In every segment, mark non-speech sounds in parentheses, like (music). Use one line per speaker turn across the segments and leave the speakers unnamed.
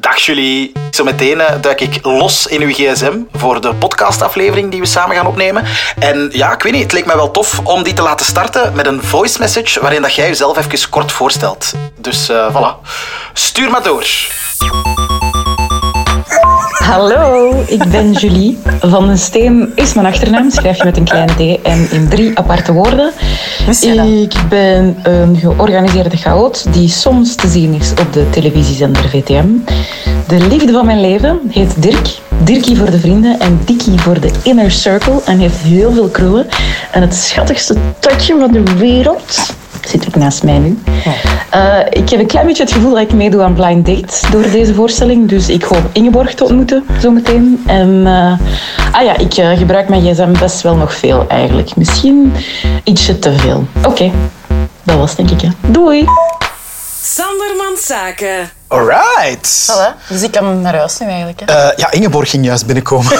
Dag jullie. Zometeen eh, duik ik los in uw gsm voor de podcastaflevering die we samen gaan opnemen. En ja, ik weet niet, het leek mij wel tof om die te laten starten met een voice message waarin dat jij jezelf even kort voorstelt. Dus eh, voilà. Stuur maar door.
Hallo, ik ben Julie. Van den Steen is mijn achternaam. Schrijf je met een kleine D en in drie aparte woorden.
Wist je dat?
Ik ben een georganiseerde chaot die soms te zien is op de televisiezender VTM. De liefde van mijn leven heet Dirk. Dirkie voor de vrienden en Dikkie voor de inner circle. En heeft heel veel krullen. En het schattigste touchje van de wereld zit ook naast mij nu. Eh, ik heb een klein beetje het gevoel dat ik meedoe aan Blind Date door deze voorstelling. Dus ik hoop Ingeborg te ontmoeten zometeen. En eh, ah ja, ik eh, gebruik mijn gsm best wel nog veel eigenlijk. Misschien ietsje te veel. Oké, dat was denk ik. Hè. Doei!
Sanderman Zaken.
Alright.
Voilà. Dus ik kan naar huis nu eigenlijk. Hè.
Eh, ja, Ingeborg ging juist (laughs) binnenkomen.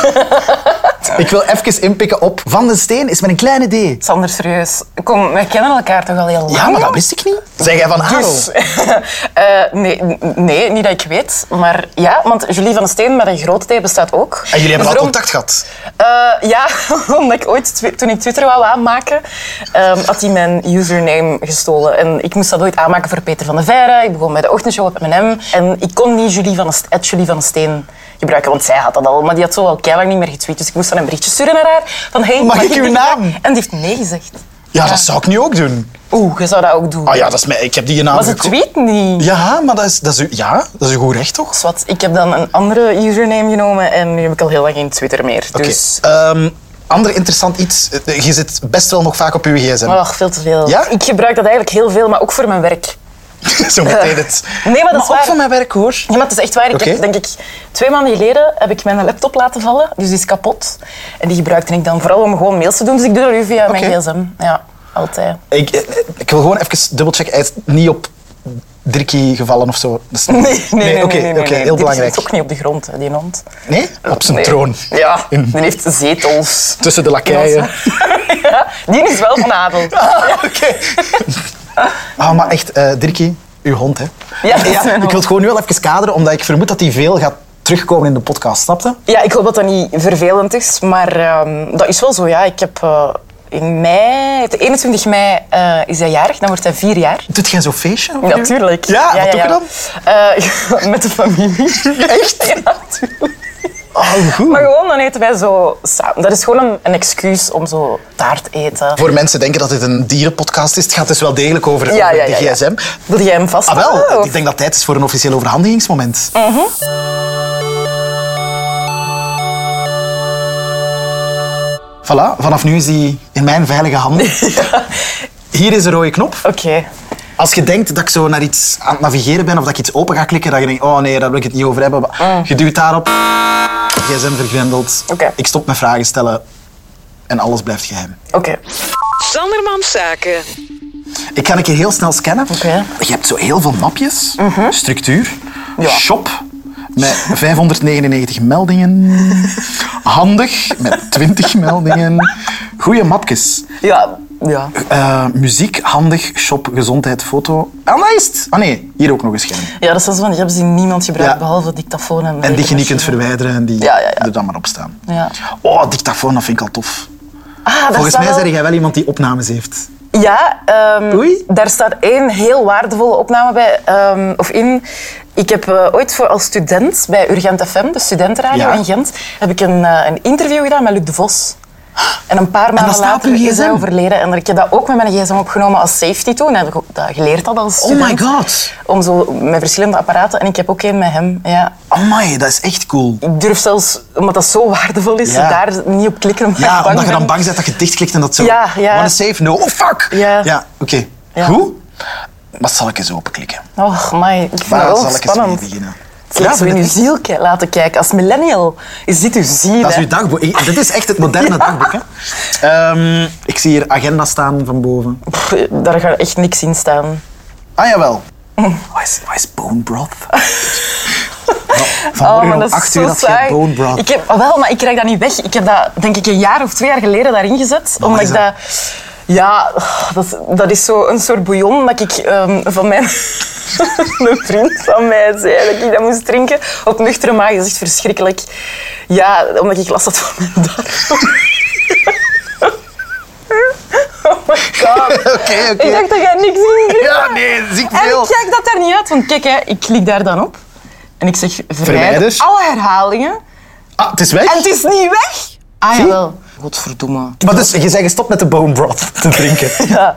ik wil even inpikken op Van den Steen is met een kleine D.
Sander, serieus. Kom, wij kennen elkaar toch al heel lang?
Ja, maar dat wist ik niet. Zeg jij van Aro?
Dus, (laughs) eh, nee, n- nee, niet dat ik weet. Maar ja, want Julie van den Steen met een grote T bestaat ook.
En (laughs) jullie hebben al
daarom-
contact gehad.
Eh, ja, (laughs) omdat ik ooit, twi- toen ik Twitter wou aanmaken, ehm, had hij mijn username gestolen. En ik moest dat ooit aanmaken voor Peter van der Veire. Ik begon bij de ochtendshow op M&M. En ik kon niet Julie van, de St- at Julie van den Steen gebruiken, want zij had dat al. Maar die had zo al keilang niet meer getweet. Dus ik moest dan een berichtje sturen naar haar. Van, hey,
Mag ik uw
dit
naam?
graag? En die heeft nee gezegd.
Ja, dat zou ik nu ook doen.
Oeh, je zou dat ook doen.
Ah ja, dat is mijn, ik heb die naam
maar ze
geko-
tweet niet.
Ja, maar dat is, dat, is, uw- ja, dat is een goed recht, toch?
Dus wat, ik heb dan een andere username genomen en nu heb ik al heel lang geen Twitter meer. Dus...
Oké. ehm, ander interessant iets. Eh, Je zit best wel nog vaak op uw gsm.
Ach, oh, veel te veel.
Ja?
Ik gebruik dat eigenlijk heel veel, maar ook voor mijn werk.
(laughs) Zo meteen het.
(laughs) Nee, maar dat is
ook
waar.
van mijn werk, hoor.
Ja, maar het is echt waar. Ik heb,
Oké.
denk ik, twee maanden geleden heb ik mijn laptop laten vallen. Dus die is kapot. En die gebruikte ik dan vooral om gewoon mails te doen. Dus ik doe dat nu via
Oké.
mijn gsm. Ja,
(laughs)
altijd.
Ik, eh, ik wil gewoon even dubbelchecken. Hij is niet op Dirkie gevallen of zo. Dat is- Oké, oké, heel belangrijk.
Die zit ook niet op de grond, hè, die hond.
Nee? Op zijn
Nee.
troon.
Ja,
In-
die heeft zetels. (laughs)
Tussen de lakeien.
ja, die is wel van adel.
Ah, oké. Ah, maar echt, eh Dirkie, uw hond, hè?
Ja, dat is mijn
Ik
hond.
wil het gewoon nu wel even kaderen, omdat ik vermoed dat hij veel gaat terugkomen in de podcast, snapte?
Ja, ik hoop dat dat niet vervelend is, maar ehm, dat is wel zo. Ja, ik heb eh, in mei, de 21 mei eh, is hij jarig, dan wordt hij vier jaar.
Doet jij zo'n feestje?
Ja, tuurlijk.
Ja, wat doe je dan?
Eh, (laughs) met de familie. Echt? (laughs) Ja, tuurlijk.
Oh, goed.
Maar gewoon, dan eten wij zo samen. Dat is gewoon een, een excuus om zo taart te eten.
Voor mensen denken dat dit een dierenpodcast is, het gaat dus wel degelijk over,
Ja,
over
ja, ja,
de
ja. Oh.
gsm.
Wil jij hem
Ah
vast?
wel, ik denk dat tijd is voor een officieel overhandigingsmoment.
Mhm.
Voilà, vanaf nu is die in mijn veilige handen.
(laughs)
Hier is een rode knop.
Oké.
Als je denkt dat ik zo naar iets aan het navigeren ben of dat ik iets open ga klikken, dat je denkt, oh nee, daar wil ik het niet over hebben. Maar Je duwt daarop, gsm vergrendeld.
Mm. Oké.
Ik stop met vragen stellen en alles blijft geheim.
Oké.
Sanderman Zaken.
Ik ga een keer heel snel scannen.
Oké. Mhm.
Je hebt zo heel veel mapjes, structuur,
Ja.
shop met 599 meldingen, handig met 20 meldingen, goede mapjes,
Ja, ja.
Eh, muziek, handig, shop, gezondheid, foto. Ah, daar is het. Ah nee, hier ook nog een scherm.
ja, dat is wel zo van, die hebben ze niemand gebruikt,
Ja.
behalve dictafoon en
En die je niet
rekenmachine.
kunt verwijderen en die
Ja, ja, ja.
er dan maar op staan.
Ja.
Oh, dictafoon, dat vind ik al tof.
Ah, daar
Volgens
staat
mij
wel-
zeg jij wel iemand die opnames heeft.
Ja, ehm,
Oei.
daar staat één heel waardevolle opname bij. ehm, of in. Ik heb eh, ooit voor, als student bij Urgent FM, de studentenradio
Ja.
in Gent, heb ik een, eh, een interview gedaan met Luc de Vos. En een paar maanden
staat op
later
uw
is hij
gsm?
overleden. En ik heb dat ook met mijn gsm opgenomen als safety toen. En ik heb dat geleerd had als
Oh
student.
my god.
Om zo met verschillende apparaten. En ik heb ook één met hem. Ja.
Amai, dat is echt cool.
Ik durf zelfs, omdat dat zo waardevol is,
Ja.
daar niet op klikken. Omdat
Ja,
ik bang
omdat je dan
ben.
bang bent dat je dichtklikt en dat zo...
Ja, ja.
Wanna save? No. Oh, fuck!
Ja.
oké.
Ja.
Goed. Wat zal ik eens openklikken?
Och, my. Ik vind
Waar
dat wel
zal ik eens mee
spannend.
beginnen?
Het lijkt zo
vind
in
ik
uw
echt.
ziel ki- laten kijken. Als millennial is dit uw ziel.
Dat is
hè?
uw dagboek. Ik- Dit is echt het
(laughs)
moderne dagboek. Hè? Ehm, ik zie hier agenda staan van boven.
Pff, daar gaat echt niks in staan.
Ah, jawel. Wat is, wat is bone broth?
Oh,
Vanmorgen om 8 uur had je bone broth.
Ik heb, ah, wel, maar ik krijg dat niet weg. Ik heb dat denk ik een jaar of twee jaar geleden daarin gezet. omdat
is
ik
dat?
dat... Ja, dat, dat is zo een soort bouillon dat ik ehm, van mijn... (laughs) een vriend van mij zei dat ik dat moest drinken op nuchtere maag. Dat is echt verschrikkelijk. Ja, omdat ik last had van mijn darmen. Oh my god.
Oké,
Ik
oké.
dacht, dat gaat niks in.
Ja, nee, ziek
En
veel.
ik kijk dat daar niet uit, want kijk, hè, ik klik daar dan op. En ik zeg, verwijder,
Verwijder.
alle herhalingen.
Ah, het is weg.
En het is niet weg. Ah,
Zie?
jawel. Godverdomme. (laughs)
Maar dus, je zei gestopt met de bone broth te (laughs) drinken.
Ja.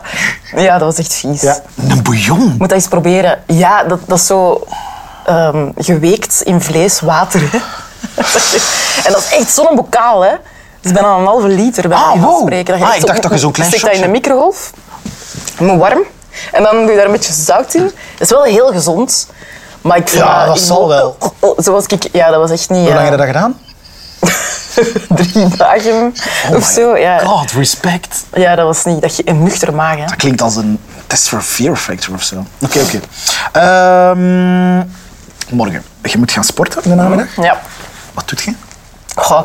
ja, dat was echt vies.
Ja. Een bouillon.
Moet dat eens proberen. Ja, dat, dat is zo ehm, geweekt in vlees, water. Hè? (laughs) en dat is echt zo'n bokaal, hè. Dat is bijna een halve liter bij
Ah,
mij
wow.
spreken.
Ah,
echt
ik
zo-
dacht dat je zo'n klein
Steek dat in de
shotje-
microgolf, maar warm. En dan doe je daar een beetje zout in. Dat is wel heel gezond. Maar ik vond
Ja, dat
ik
zal
vond-
wel.
Oh, oh, zoals ik... Ja, dat was echt niet...
Hoe lang
eh,
heb je dat gedaan?
(laughs) Drie dagen of
Oh my
zo. Ja.
God, respect.
ja, dat was niet... Dat je een nuchtere maag, hè.
Dat klinkt als een test for fear factor of zo. Oké, oké. Ehm, morgen. Je moet gaan sporten in de namiddag.
Ja.
Wat doet je?
Goh,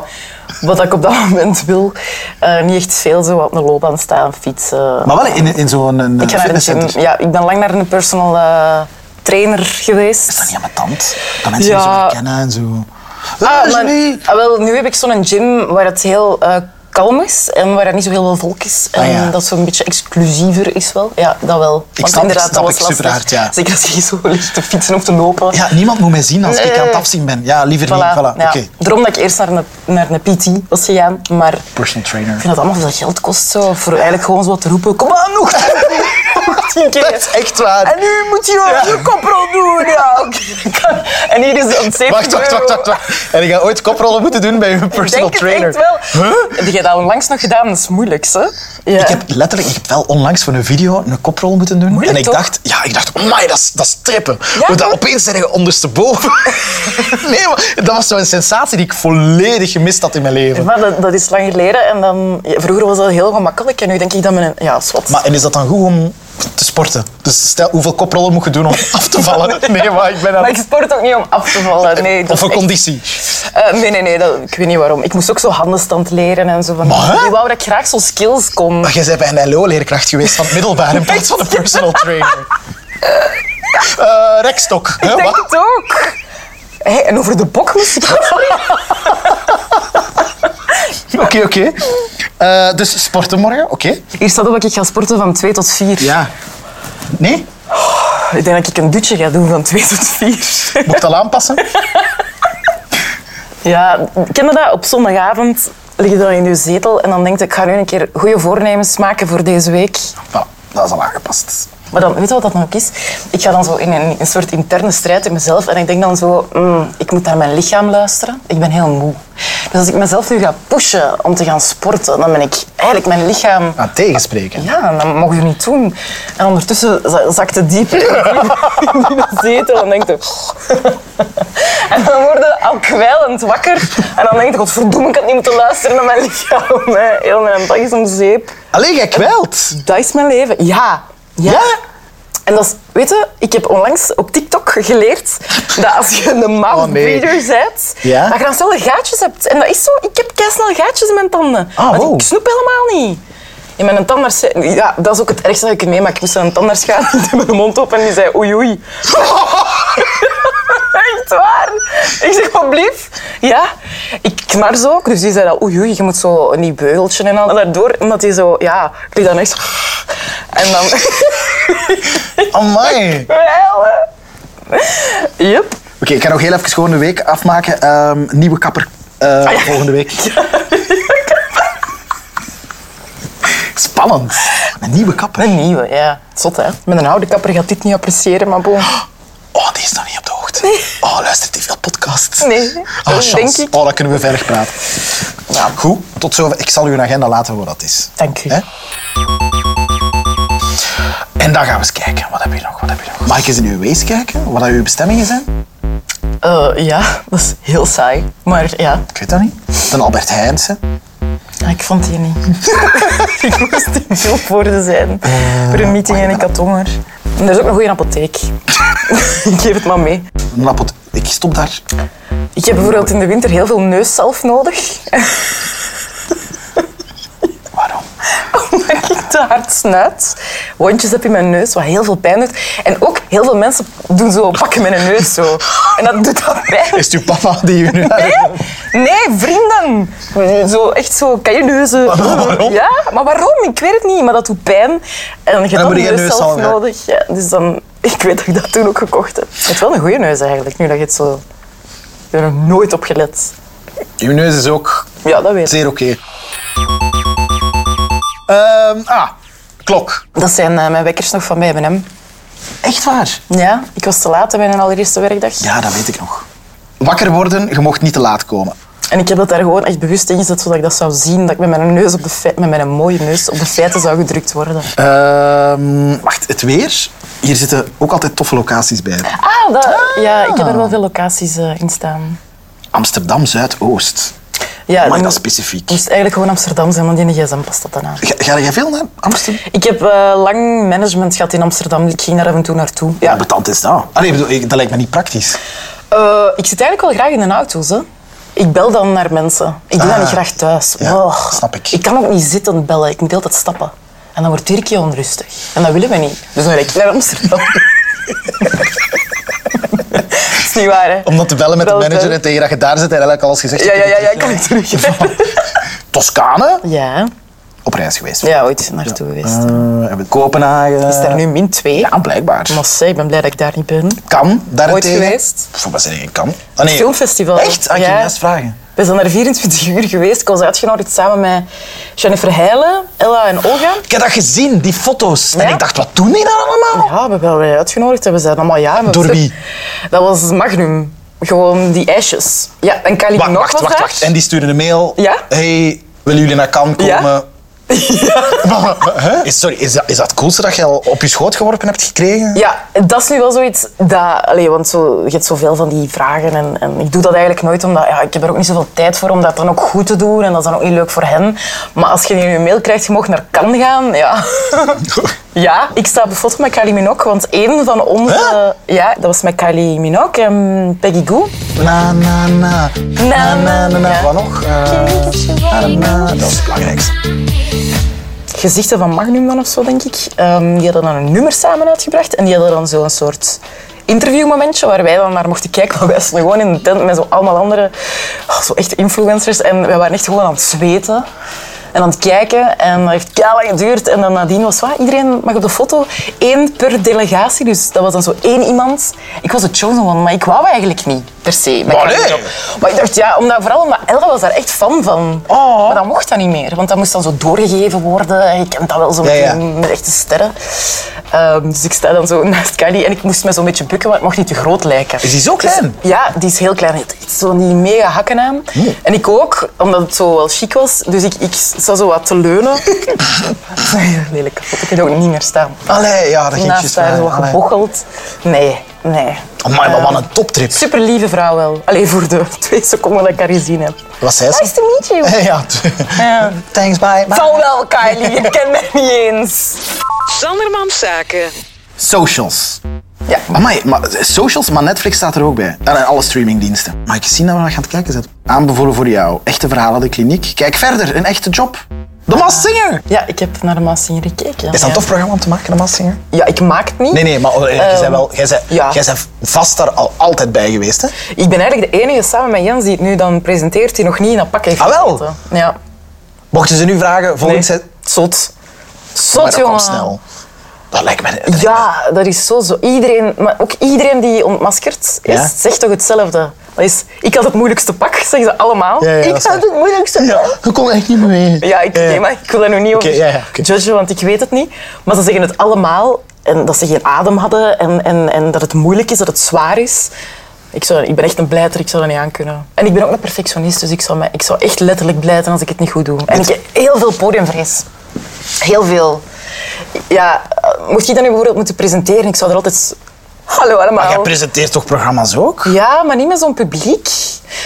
wat ik op dat (laughs) moment wil, eh, niet echt veel zo op een loopbaan staan, fietsen.
Maar wel in, in zo'n een,
ik ga naar de gym.
fitnesscenter.
Ja, ik ben lang naar een personal eh, trainer geweest.
Is dat niet aan mijn tand? Dat mensen
Ja.
je zo herkennen en zo.
Ah,
Ah,
maar-
Julie.
ah, wel, nu heb ik zo'n gym waar het heel eh, kalm is en waar er niet zo heel veel volk is. En
Ah, ja.
dat zo'n beetje exclusiever is wel. Ja, dat wel. Want
snap-
inderdaad,
ik
dat
snap
was
ik
lastig.
superhard, ja.
Zeker als je zo ligt te fietsen of te lopen.
Ja, niemand moet mij zien als ik
Nee.
aan het afzien ben. Ja, liever niet. Voilà, oké.
ja. Daarom dat ik eerst naar een, naar een PT was gegaan, maar...
Personal
Ik
trainer.
vind dat allemaal veel geld kost zo. Voor eigenlijk gewoon zo te roepen. Kom aan, nog nog (laughs) tien keer.
Dat is echt
(laughs)
waar.
En nu moet je ook je koprol doen. Ja, oké. (laughs) En hier is het 70
Wacht, wacht,
euro.
wacht, wacht, wacht. En ik ga ooit koprollen moeten doen bij een
Ik
personal
denk het
trainer.
echt wel. Heb jij dat onlangs nog gedaan? Dat is moeilijk, hè? Ja.
Ik heb letterlijk, ik heb wel onlangs voor een video een koprol moeten doen.
Moeilijk,
en ik
toch?
dacht, ja, ik dacht, amai, dat is, dat is trippen.
Ja,
Hoe dat
toch?
opeens zijn je
(laughs)
ondersteboven. nee, maar dat was zo'n sensatie die ik volledig gemist had in mijn leven.
Maar dat, dat is lang geleden. En dan, ja, vroeger was dat heel gemakkelijk. En nu denk ik dat mijn... Ja, zwart.
Maar en is dat dan goed om te sporten? Dus stel, hoeveel koprollen moet je doen om af
(laughs)
te vallen? Nee, maar ik ben
Maar
aan...
ik Eh, sport ook niet om af te vallen. Nee, dat
Of een
is echt-
conditie.
Eh, nee, nee, nee, dat, ik weet niet waarom. Ik moest ook zo handenstand leren en zo. Van,
Maar, hè?
ik wou dat ik graag zo skills kon.
Maar jij bent bij een LO-leerkracht geweest van het middelbaar in plaats van een personal trainer. Eh rekstok. hè,
Ik denk
wat?
het ook. Hé, en over de bok moest ik (laughs)
Oké, oké. Eh, dus sporten morgen, oké.
Hier staat op dat ik ga sporten van 2 tot 4.
Ja. Nee?
Ik denk dat ik een dutje ga doen van 2 tot 4.
Moet ik dat aanpassen?
(laughs) Ja, ken je dat? Op zondagavond lig je dan in je zetel en dan denk je, ik ga nu een keer goede voornemens maken voor deze week.
Voilà, Nou, dat is al aangepast.
Maar dan, weet je wat dat dan ook is? Ik ga dan zo in een, een soort interne strijd in mezelf en ik denk dan zo, mm, ik moet naar mijn lichaam luisteren. Ik ben heel moe. Dus als ik mezelf nu ga pushen om te gaan sporten, dan ben ik eigenlijk mijn lichaam
Aan Nou, tegenspreken.
Ja, dat mogen je niet doen. En ondertussen za- zakt het diep in de zetel en denkt je... En dan word je al kwijlend wakker. En dan denk je, godverdomme, ik had niet moeten luisteren naar mijn lichaam. hè. Heel mijn dag is om zeep.
Allee, jij kwijlt.
Dat is mijn leven. Ja. Ja? En dat is, weet je, ik heb onlangs op TikTok geleerd dat als je een mouthbreeder bent,
Ja?
dat je dan snel gaatjes hebt. En dat is zo, ik heb snel gaatjes in mijn tanden.
Ah,
Want
wow.
Ik snoep helemaal niet. Ja, mijn tandarts zei- ja, dat is ook het ergste dat ik meemaak. Ik moest naar een tandarts gaan, (laughs) die deed mijn mond open en die zei oei oei. (laughs) Echt waar? Ik zeg, wat blief? Ja. Ik knars ook, dus die zei dat, oei, oei, je moet zo een nieuw beugeltje en al. En daardoor, omdat hij zo, ja, ik liet dan echt zo... En dan... (laughs)
Amai. Oké,
Wel, hè. Yep.
ik ga nog heel even gewoon de week afmaken. Ehm, nieuwe kapper eh, volgende week. Spannend. Een nieuwe kapper.
Een nieuwe, ja. Zot, hè. Met een oude kapper gaat dit niet appreciëren, maar bon.
Oh, die is nog niet op de hoogte. Oh, luistert die veel podcasts?
Nee,
Oh,
dat
chance.
denk ik.
Oh, dan kunnen we verder praten. Nou, goed. Tot zover. Ik zal uw agenda laten hoe dat is.
Dank u.
Hè? En dan gaan we eens kijken. Wat heb je nog? Wat heb je nog? Mag ik eens in uw wees kijken? Wat dat uw bestemmingen zijn?
Eh, ja, dat is heel saai. Maar ja,
Ik weet dat niet. Een Albert Heijnse.
ik vond die niet. (laughs) ik moest in veel voorde zijn. Voor een meeting en ik had honger. Eh, En er is ook een goede apotheek. (laughs) ik geef het maar mee.
Een apot... Ik stop daar.
Ik heb bijvoorbeeld in de winter heel veel (laughs) neuszelf nodig.
Waarom?
Omdat ik te hard snuit. Wondjes heb in mijn neus, wat heel veel pijn doet. En ook heel veel mensen doen zo, pakken mijn neus zo. En dat doet dat pijn.
Is het uw papa die u nu...
Nee, nee, vrienden. Zo, echt zo, kan je neuzen.
Maar waarom?
Ja, maar waarom? Ik weet het niet, maar dat doet pijn. En je
dan
hebt
moet
een
je
neus zelf
neushalve.
nodig. Ja, dus dan, ik weet dat ik dat toen ook gekocht heb. Het is wel een goede neus eigenlijk, nu dat je het zo... Ik heb er nog nooit op gelet.
Uw neus is ook
Ja, dat weet ik.
zeer oké. Ehm, ah, klok.
Dat zijn eh, mijn wekkers nog van bij M&M.
Echt waar?
Ja, ik was te laat bij mijn allereerste werkdag.
Ja, dat weet ik nog. Wakker worden, je mocht niet te laat komen.
En ik heb dat daar gewoon echt bewust in gezet, zodat ik dat zou zien. Dat ik met mijn, neus op de fe- met mijn mooie neus op de feiten zou gedrukt worden.
Ehm, wacht, het weer. Hier zitten ook altijd toffe locaties bij.
Ah, dat, ja, ik heb er wel veel locaties eh, in staan.
Amsterdam, Zuidoost.
Ja,
Amai,
dan-
dat is specifiek.
moest eigenlijk gewoon Amsterdam zijn, want in de gsm past dat dan aan.
Ga, ga jij veel naar Amsterdam?
Ik heb eh, lang management gehad in Amsterdam. Ik ging daar af en toe naartoe.
Ja, betant is dat. Allee, ik bedoel, ik- dat lijkt me niet praktisch.
Eh, ik zit eigenlijk wel graag in de auto's. Hè. Ik bel dan naar mensen. Ik doe
Ah.
dat niet graag thuis.
Ja,
Och.
snap ik.
Ik kan ook niet zitten bellen. Ik moet altijd stappen. En dan wordt Dirkie onrustig. En dat willen we niet. Dus dan ben ik naar Amsterdam. (laughs) Dat is niet waar, hè?
Omdat te bellen met de
Wel,
manager
wel.
en tegen dat je daar zit en eigenlijk alles gezegd
Ja, ja, ja, ja, ik kan niet terug.
(laughs) Toscane?
Ja,
Op reis geweest.
ja ooit naartoe geweest.
Eh, hebben we Kopenhagen.
Is daar nu min 2?
Eh, Ja, blijkbaar.
Maar zeg, ik ben blij dat ik daar niet ben.
Kan, daarentegen.
Ooit geweest?
Voor wat zeg ik kan? Ah, nee.
Filmfestival.
Echt? Ah, ik ging
Ja.
juist vragen.
We zijn daar 24 uur geweest. Ik was uitgenodigd samen met Jennifer Heijlen, Ella en Olga.
Ik heb dat gezien, die foto's. En
Ja?
ik dacht, wat doen die daar allemaal?
Ja, we hebben wij uitgenodigd en we zeiden allemaal ja. maar-
Door wie?
Dat was Magnum. Gewoon die ijsjes. Ja, en Kylie
Wacht,
Minogue
wacht,
was
wacht,
daar.
wacht. En die sturen een mail.
Ja?
hey, willen jullie naar Cannes komen?
Ja? (laughs)
Maar, maar, maar, hè? Is- Sorry, is dat, is dat het coolste dat je al op je schoot geworpen hebt gekregen?
Ja, dat is nu wel zoiets dat... Allee, want zo, je hebt zoveel van die vragen en, en ik doe dat eigenlijk nooit omdat... Ja, ik heb er ook niet zoveel tijd voor om dat dan ook goed te doen en dat is dan ook niet leuk voor hen. Maar als je nu een mail krijgt, je mag naar Cannes gaan, ja. ja, ik sta op de foto met Kylie Minogue, want één van onze... Ja, dat was met Kylie Minogue en Peggy Goo.
Na, na, na. Na, na, na, na.
Ja.
Wat nog? Eh, na, na, dat is het belangrijkste.
gezichten van Magnum dan of zo, denk ik. Ehm, die hadden dan een nummer samen uitgebracht en die hadden dan zo'n soort interviewmomentje waar wij dan naar mochten kijken. Want wij stonden gewoon in de tent met zo allemaal andere, oh, zo echt influencers. En wij waren echt gewoon aan het zweten en aan het kijken. En dat heeft lang geduurd. En dan nadien was wat, iedereen mag op de foto. Eén per delegatie, dus dat was dan zo één iemand. Ik was de chosen one, maar ik wou eigenlijk niet, per se. Maar ik
Maar
had
nee.
een job. Maar ik dacht, ja, omdat, vooral omdat Ella was daar echt fan van.
Oh.
Maar dat mocht dat niet meer, want dat moest dan zo doorgegeven worden. En Je kent dat wel zo
Ja,
met,
ja.
die- met echte sterren. Ehm, dus ik sta dan zo (laughs) naast Kylie en ik moest me zo'n beetje bukken, want het mocht niet te groot lijken.
Is die zo klein?
Dus- ja, die is heel klein. Het is zo niet mega hakken aan. En ik ook, omdat het zo wel chic was. Dus ik, ik sta zo wat te leunen.
(laughs)
(laughs) Dat is een heel lelijk. foto. Ik kan ook niet meer staan.
Allee, ja, dat ging
Naast
juist
daar
vragen.
zo wat
Allee.
gebocheld. Nee, nee.
Amai, maar wat
Ehm,
een toptrip.
Super lieve vrouw wel. Alleen voor de (laughs) twee seconden dat ik haar gezien heb.
Wat zei ze?
Nice to meet you. (laughs)
(laughs) Ja,
Ja.
thanks, bye. bye.
Zal wel, Kylie. Je kent mij niet eens.
Sanderman Zaken.
Socials.
Ja.
Amai, maar socials, maar Netflix staat er ook bij. En alle streamingdiensten. Maar ik zie dat we nog gaan het kijken zetten. Aanbevolen voor jou. Echte verhalen de kliniek. Kijk verder, een echte job. De Masked Singer.
Ja, ik heb naar de Maassinger gekeken.
Is dat
ja.
een tof programma om te maken, De Masked Singer?
Ja, ik maak het niet.
Nee, nee, maar eh, jij bent wel, jij bent,
ja.
jij bent vast daar al, altijd bij geweest, hè?
Ik ben eigenlijk de enige samen met Jens die het nu dan presenteert, die nog niet in dat pak heeft
Ah, wel?
gezeten. Ja.
Mochten ze nu vragen,
Nee.
volgens het...
Zot.
Maar
Zot,
dat komt
jongen.
snel. Dat lijkt me... dat-
Ja, dat is zo zo. Iedereen, maar ook iedereen die ontmaskerd is,
Ja.
zegt toch hetzelfde. Dat is, ik had het moeilijkste pak, zeggen ze allemaal.
Ja, ja,
ik
dat is waar.
had het moeilijkste
Ja, Eh,
pak.
je kon echt niet meer mee.
Ja, ik,
Ja, ja.
nee, maar ik wil daar nu niet over
Oké, ja, ja, oké.
judgen, want ik weet het niet. Maar ze zeggen het allemaal. En dat ze geen adem hadden en, en, en dat het moeilijk is, dat het zwaar is. Ik, zou, ik ben echt een blijter, ik zou dat niet aankunnen. En ik ben ook een perfectionist, dus ik zou, mij, ik zou echt letterlijk blijten als ik het niet goed doe. En ik heb heel veel podiumvrees. Heel veel. Ja, eh, mocht je dan nu bijvoorbeeld moeten presenteren, ik zou er altijd... s- Hallo
Maar jij
allemaal.
presenteert toch programma's ook?
Ja, maar niet met zo'n publiek.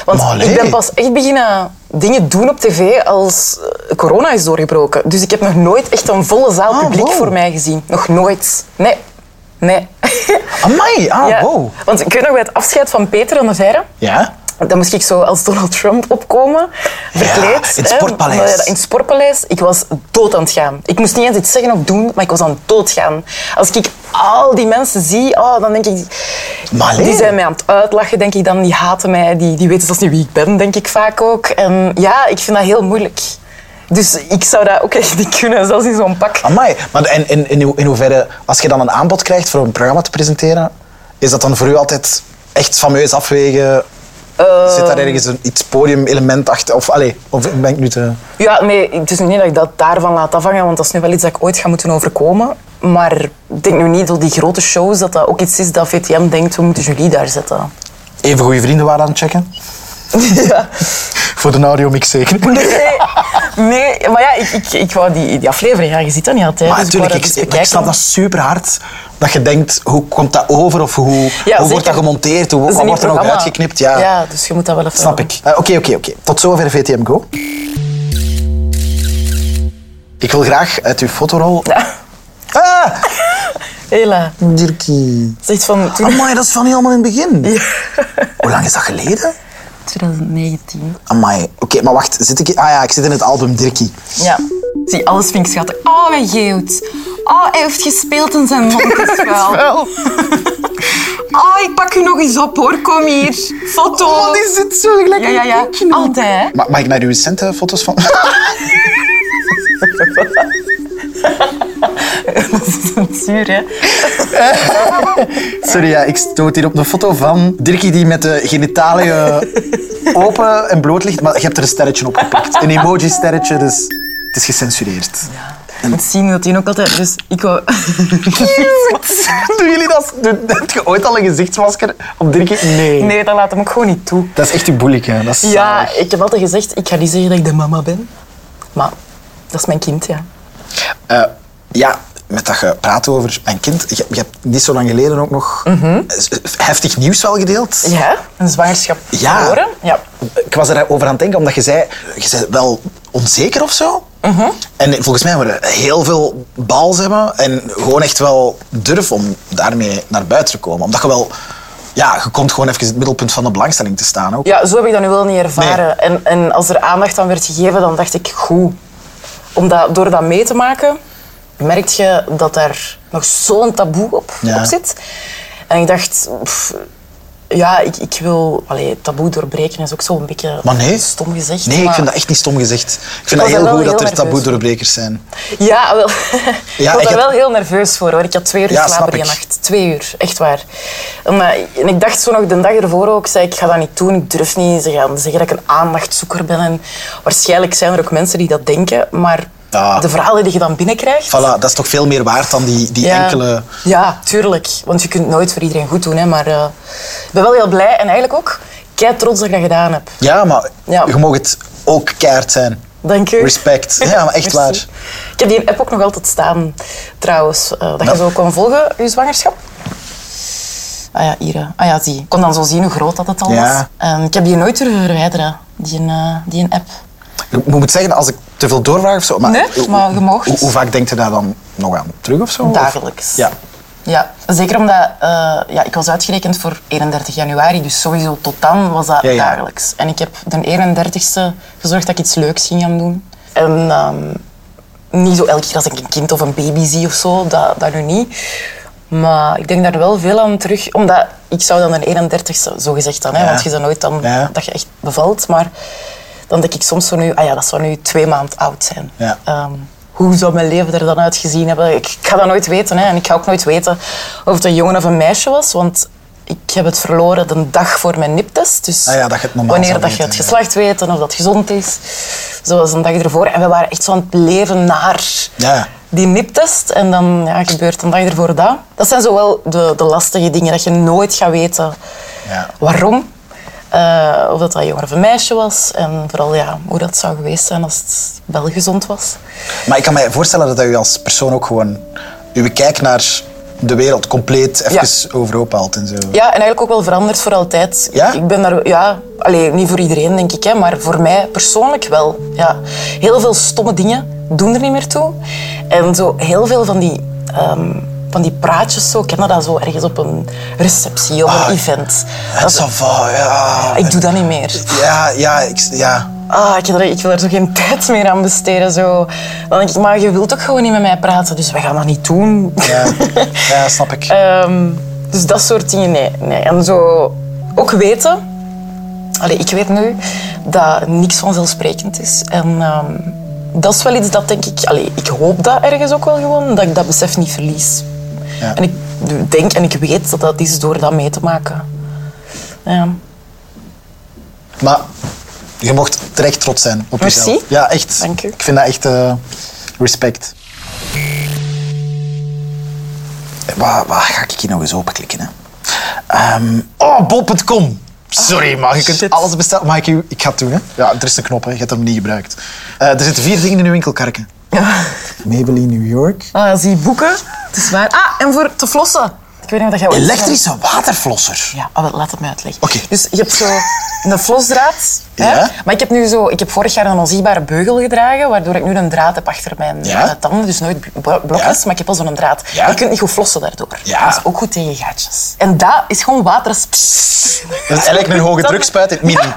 Want
Maar allee.
ik ben pas echt beginnen dingen doen op tv als eh, corona is doorgebroken. Dus ik heb nog nooit echt een volle zaal
Ah,
publiek
wow.
voor mij gezien. Nog nooit. Nee. Nee.
Amai, ah, wow.
(laughs) Want ik weet nog bij het afscheid van Peter en de Verre.
Ja?
Dan moest ik zo als Donald Trump opkomen, verkleed.
in het
hè,
sportpaleis.
maar ja, In het sportpaleis. Ik was dood aan het gaan. Ik moest niet eens iets zeggen of doen, maar ik was aan het doodgaan. Als ik al die mensen zie, oh, dan denk ik...
Maar nee.
die zijn mij aan het uitlachen, denk ik dan. Die haten mij, die, die weten zelfs niet wie ik ben, denk ik vaak ook. En ja, ik vind dat heel moeilijk. Dus ik zou dat ook echt niet kunnen, zelfs in zo'n pak.
Amai. Maar en, in, in, ho- in hoeverre, als je dan een aanbod krijgt voor een programma te presenteren, is dat dan voor u altijd echt fameus afwegen? Zit daar ergens een, iets podium-element achter? Of, allee, of ben ik nu te...
Ja, nee, het is nu niet dat ik dat daarvan laat afhangen, want dat is nu wel iets dat ik ooit ga moeten overkomen. Maar ik denk nu niet door die grote shows dat dat ook iets is dat VTM denkt, we moeten jullie daar
(laughs)
zetten.
Even goede vrienden waren aan het checken?
Ja.
Voor de audiomix zeker.
Nee, nee, maar ja, ik, ik, ik wou die, die aflevering, ja, je ziet dat niet altijd. (laughs)
Maar
dus
natuurlijk,
wou
ik,
dat eens
ik,
bekijken.
snap dat super hard. Dat je denkt, hoe komt dat over? Of hoe, hoe
zeker.
wordt dat gemonteerd? Hoe
Dat is
wat
een
wordt er nog
programma.
uitgeknipt? Ja,
ja, dus je moet dat wel even...
snap ik. Eh, Oké, oké, oké. Tot zover VTM Go. Ik wil graag uit uw fotorol... Ah!
Hela,
Dirkie.
zegt van
(laughs)
toen...
Amai, dat is van helemaal in het begin. Hoe lang is dat geleden?
2019.
Amai. Oké, maar wacht. Zit ik... Ah ja, ik zit in het album Dirkie.
Ja. Zie, alles vind ik schattig. Oh, mijn geeuwt. Oh, hij heeft gespeeld in zijn (laughs) mond. Oh, ik pak u nog eens op hoor. Kom hier. Foto.
Wat is dit zo gelijk?
Ja, ja, ja. Altijd. hè. (laughs)
Ma- mag ik naar uw recente foto's van... (laughs)
Dat is een zuur, hè.
Sorry, ja, ik stoot hier op een foto van Dirkie die met de (laughs) genitaliën open en bloot ligt. Maar je hebt er een sterretje op geplakt. Een emoji-sterretje, dus het is gecensureerd.
Je moet zien dat hij ook altijd... Dus ik wou... (laughs)
(laughs) Doen jullie dat? Doe- Heb je ooit al een gezichtsmasker op Dirkie? Nee.
Nee, dat laat hem ook gewoon niet toe.
Dat is echt uw boelik, hè. Dat is
Ja,
zalig.
ik heb altijd gezegd, ik ga niet zeggen dat ik de mama ben. Maar dat is mijn kind, ja.
Eh, ja, met dat je praat over mijn kind. Je, je hebt niet zo lang geleden ook nog eh, heftig nieuws wel gedeeld.
Ja, een zwangerschap
Ja.
verloren. Ja.
Ik was erover aan het denken, omdat je zei, je zei wel onzeker of zo. En volgens mij moeten we heel veel bals hebben en gewoon echt wel durf om daarmee naar buiten te komen. Omdat je wel, ja, je komt gewoon even in het middelpunt van de belangstelling te staan ook.
Ja, zo heb ik dat nu wel niet ervaren.
Nee.
En, en als er aandacht aan werd gegeven, dan dacht ik, goed. Omdat, door dat mee te maken, merk je dat daar nog zo'n taboe op,
Ja.
op zit. En ik dacht, pff, ja, ik, ik wil... Allee, taboe doorbreken is ook zo'n beetje
Maar nee.
stom gezegd.
Nee, ik
maar-
vind dat echt niet stom gezegd. Ik vind
was
dat heel
daar
goed
wel
dat
heel
er
nerveus
taboe-doorbrekers zijn.
Ja, wel. ik was
ik
daar
had-
wel heel nerveus voor hoor. Ik had twee uur
Ja, snap
slapen die
ik.
nacht. Twee uur, echt waar. Maar, en ik dacht zo nog de dag ervoor ook, zei ik ga dat niet doen, ik durf niet. Ze gaan zeggen dat ik een aandachtzoeker ben. En waarschijnlijk zijn er ook mensen die dat denken, maar
Ja.
de verhalen die je dan binnenkrijgt...
Voilà, dat is toch veel meer waard dan die, die
Ja.
enkele...
Ja, tuurlijk. Want je kunt nooit voor iedereen goed doen. Hè, maar eh, ik ben wel heel blij en eigenlijk ook kei trots dat ik dat gedaan heb.
Ja, maar
Ja.
je mag het ook keihard zijn.
Dank je.
Respect. Ja, maar echt
Merci.
waar.
Ik heb die app ook nog altijd staan, trouwens. eh, dat
Ja.
je zo kon volgen, je zwangerschap. Ah ja, hier. eh. Ah ja, zie. Ik kon dan zo zien hoe groot dat het al
Ja.
was. En ik heb die nooit durven verwijderen, die, een, eh, die een app.
Ik moet zeggen, als ik te veel doorvraag of zo... Maar,
Nee, maar je mag.
Hoe, hoe vaak denkt je daar dan nog aan terug of zo? Of-
Dagelijks.
Ja.
Ja, zeker omdat eh, ja, ik was uitgerekend voor 31 januari, dus sowieso tot dan was dat
Ja, ja.
dagelijks. En ik heb de 31ste gezorgd dat ik iets leuks ging gaan doen. En ehm, niet zo elke keer als ik een kind of een baby zie of zo, dat, dat nu niet. Maar ik denk daar wel veel aan terug, omdat ik zou dan de 31ste, zo gezegd dan, hè,
Ja.
want je zou nooit dan
Ja.
dat je echt bevalt, maar dan denk ik soms zo nu, ah ja, dat zou nu twee maanden oud zijn.
Ja.
Ehm, hoe zou mijn leven er dan uitgezien hebben? Ik, ik ga dat nooit weten. Hè. En ik ga ook nooit weten of het een jongen of een meisje was. Want ik heb het verloren de dag voor mijn niptest. Dus
Ah ja, dat je het normaal
wanneer
zou
dat je het
weten,
geslacht weet en of dat gezond is. Zoals een dag ervoor. En we waren echt zo aan het leven naar
Ja.
die niptest. En dan ja, gebeurt een dag ervoor dat. Dat zijn zo wel de, de lastige dingen dat je nooit gaat weten
Ja.
waarom. Eh, of dat dat een jongen of een meisje was. En vooral ja, hoe dat zou geweest zijn als het wel gezond was.
Maar ik kan mij voorstellen dat dat u als persoon ook gewoon... Uw kijk naar de wereld compleet even overhoop haalt en zo.
Ja, en eigenlijk ook wel veranderd voor altijd.
Ja?
Ik ben daar, ja, allee, niet voor iedereen denk ik, hè, maar voor mij persoonlijk wel. Ja. Heel veel stomme dingen doen er niet meer toe. En zo heel veel van die ehm, van die praatjes zo. Ken je dat zo ergens op een receptie of een
Ah,
event?
Het
Dat,
ça va, ja.
ik doe dat niet meer.
Ja, ja, ik, ja.
Ah, ik, heb er- ik wil er zo geen (laughs) tijd meer aan besteden. Zo. Dan denk ik, maar je wilt ook gewoon niet met mij praten, dus we gaan dat niet doen. (laughs)
Ja, ja snap ik.
Ehm, dus dat soort dingen, nee, nee. En zo ook weten, allee, ik weet nu, dat niks vanzelfsprekend is. En ehm, dat is wel iets dat denk ik, allee, ik hoop dat ergens ook wel gewoon, dat ik dat besef niet verlies.
Ja.
En ik denk en ik weet dat dat is door dat mee te maken. Ja.
Maar je mocht terecht trots zijn op
Merci.
jezelf. Ja, echt.
Dank u.
Ik vind dat echt eh, respect. Waar, waar ga ik hier nog eens openklikken? Hè? Ehm, oh, bol.com. Sorry,
Ah,
maar je kunt alles bestellen. Maar ik, ik ga het doen. Hè? Ja, er is een knop, hè. je hebt hem niet gebruikt. Eh, er zitten vier dingen in uw winkelkarken. Maybelline New York.
Ah, zie boeken, het is waar. Ah, en voor te flossen. Ik weet niet of dat jij ooit-
Elektrische waterflosser.
Ja, ah, wel, laat het mij uitleggen.
Oké.
Dus je hebt zo een flosdraad. Hè?
Ja.
Maar ik heb nu zo, ik heb vorig jaar een onzichtbare beugel gedragen, waardoor ik nu een draad heb achter mijn
Ja.
eh, tanden. Dus nooit bl- blokjes,
Ja.
maar ik heb wel zo'n draad.
Ja.
Je kunt niet goed flossen daardoor.
Ja.
Dat is ook goed tegen gaatjes. En dat is gewoon water. dat is-
Dat is eigenlijk een hoge
Dan-
drukspuit in het midden.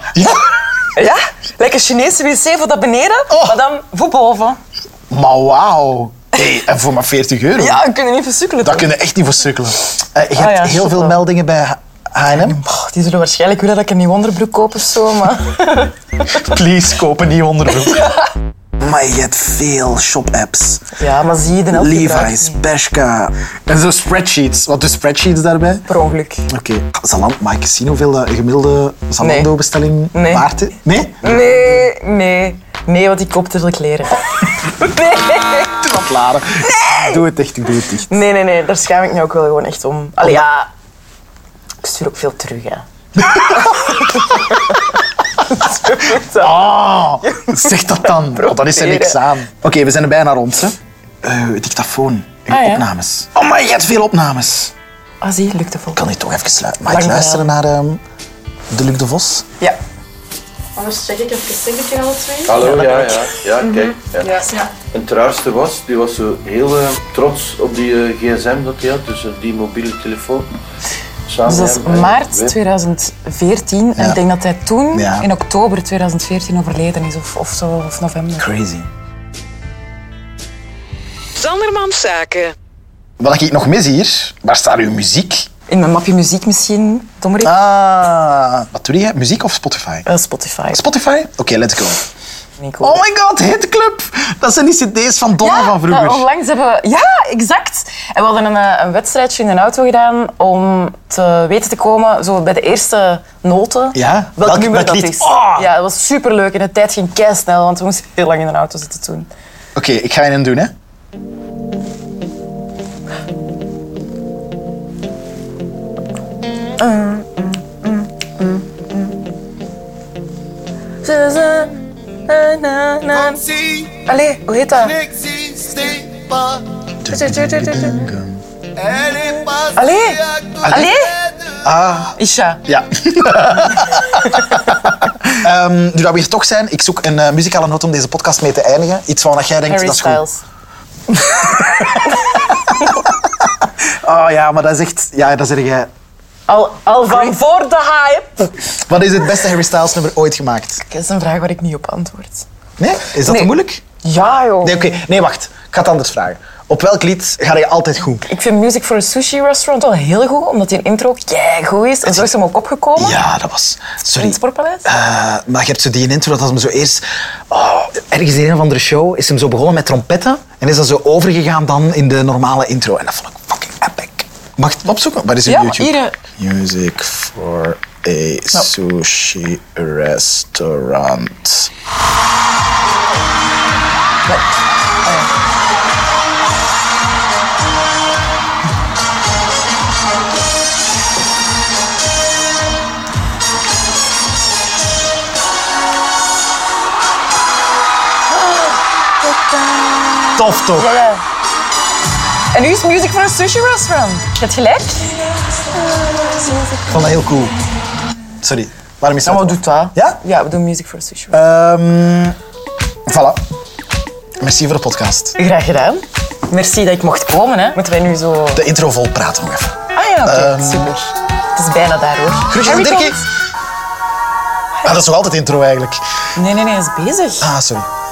Ja, lekker Chinese wc voor dat beneden,
Oh.
maar dan voor boven.
Maar wauw. Hey, en voor maar 40 euro.
Ja, we kunnen niet versukkelen.
Dat
toch?
kunnen echt niet versukkelen. Eh, je
Ah
hebt
ja,
heel veel
super.
meldingen bij H&M.
Oh, die zullen waarschijnlijk willen dat ik een nieuw onderbroek koop of zo, maar...
(laughs) Please, koop een nieuw onderbroek. Maar je hebt veel shop-apps.
Ja, maar zie je, de helft gebruikt
Levi's, Bershka. En zo spreadsheets. Wat doen spreadsheets daarbij?
Per ongeluk.
Oké. Zalan- mag ik zien hoeveel de gemiddelde Zalando-bestelling
Nee. Nee.
waard is? Nee?
Nee, nee. Nee, want ik koop te veel kleren. Nee.
Wat laren. Doe het echt, ik doe het dicht.
nee, nee, nee. Daar schaam ik me ook wel gewoon echt om. Allee, ja. Ik stuur ook veel terug, hè.
Ah, zeg dat dan. Oh, dan is er niks aan. Oké, we zijn er bijna rond, hè. Eh, dictafoon. Uw
Ah, ja.
opnames. Oh, maar je hebt veel opnames.
Ah, zie, lukt het volgende.
kan dit toch even sluiten. Mag ik
Lang
luisteren naar ehm de Luc de Vos?
Ja.
Anders check ik even, zeg ik je alle twee?
Hallo, ja, ja, ja,
Mhm.
kijk. Ja. En het raarste was, die was zo heel eh, trots op die eh, gsm dat hij had, dus eh, die mobiele telefoon. Samen
Dus dat
hebben,
is
eh,
maart
weet-
2014. En
Ja.
ik denk dat hij toen,
Ja.
in oktober 2014, overleden is. Of, of zo, of november.
Crazy.
Sanderman Zaken.
Wat ik nog mis hier, waar staat uw muziek?
In mijn mapje muziek misschien, Dommerik.
Ah, wat doe je? Muziek of Spotify?
Eh, Spotify.
Spotify? Oké, let's go.
Nico.
Oh my god, Hit Club! Dat zijn die cd's van Donna van vroeger.
eh, onlangs hebben we... Ja, exact. En we hadden een, eh, een wedstrijdje in een auto gedaan om te weten te komen, zo bij de eerste noten,
Ja,
welk,
welk-
nummer
welk
dat
lied?
is.
Ah!
Ja, dat was superleuk. En de tijd ging keisnel, want we moesten heel lang in een auto zitten toen.
Oké, ik ga je een doen, hè.
Allee, hoe heet dat? Allee! Allee!
Ah,
Isha. (laughs)
ja. Ehm nu dat we hier toch zijn, ik zoek een eh, muzikale noot om deze podcast mee te eindigen. Iets waarvan jij denkt,
Harry
dat is goed.
Styles.
Oh ja, maar dat is echt... Ja, dat zeg jij.
Al, al van voor de hype.
Wat is het beste Harry Styles nummer ooit gemaakt?
Dat is een vraag waar ik niet op antwoord.
Nee? Is dat te
Nee.
moeilijk?
Ja, joh.
Nee, oké. Nee, wacht. Ik ga het anders vragen. Op welk lied ga je altijd goed?
Ik vind Music for a Sushi Restaurant wel heel goed, omdat die intro kei goed is. En zo is hem ook opgekomen
Ja, dat was...
in
Sorry.
het Sportpaleis.
Eh, maar je hebt zo die intro dat als hem zo eerst... Oh, ergens in een of andere show is hem zo begonnen met trompetten. En is dat zo overgegaan dan in de normale intro. En dat vond ik fucking epic. Mag ik het opzoeken? Waar is het
Ja,
op YouTube?
hier, eh.
Music for a sushi restaurant. Tof toch?
Ja. En nu is Music for a Sushi Restaurant. Je hebt gelijk.
Ik vond dat heel cool. Sorry, waarom is dat?
Nou, wat doet dat?
Ja?
Ja, we doen Music for a Sushi Restaurant.
Ehm voilà. Merci voor de podcast.
Eh, Graag gedaan. Merci dat ik mocht komen. Hè. Moeten wij nu zo...
De intro vol praten nog even.
Ah ja, oké. Super. Het is bijna daar, hoor.
Groetjes aan
Harry
Dirkie.
komt.
Ah, dat is nog altijd intro eigenlijk.
Nee, nee, nee. Hij is bezig.
Ah, sorry.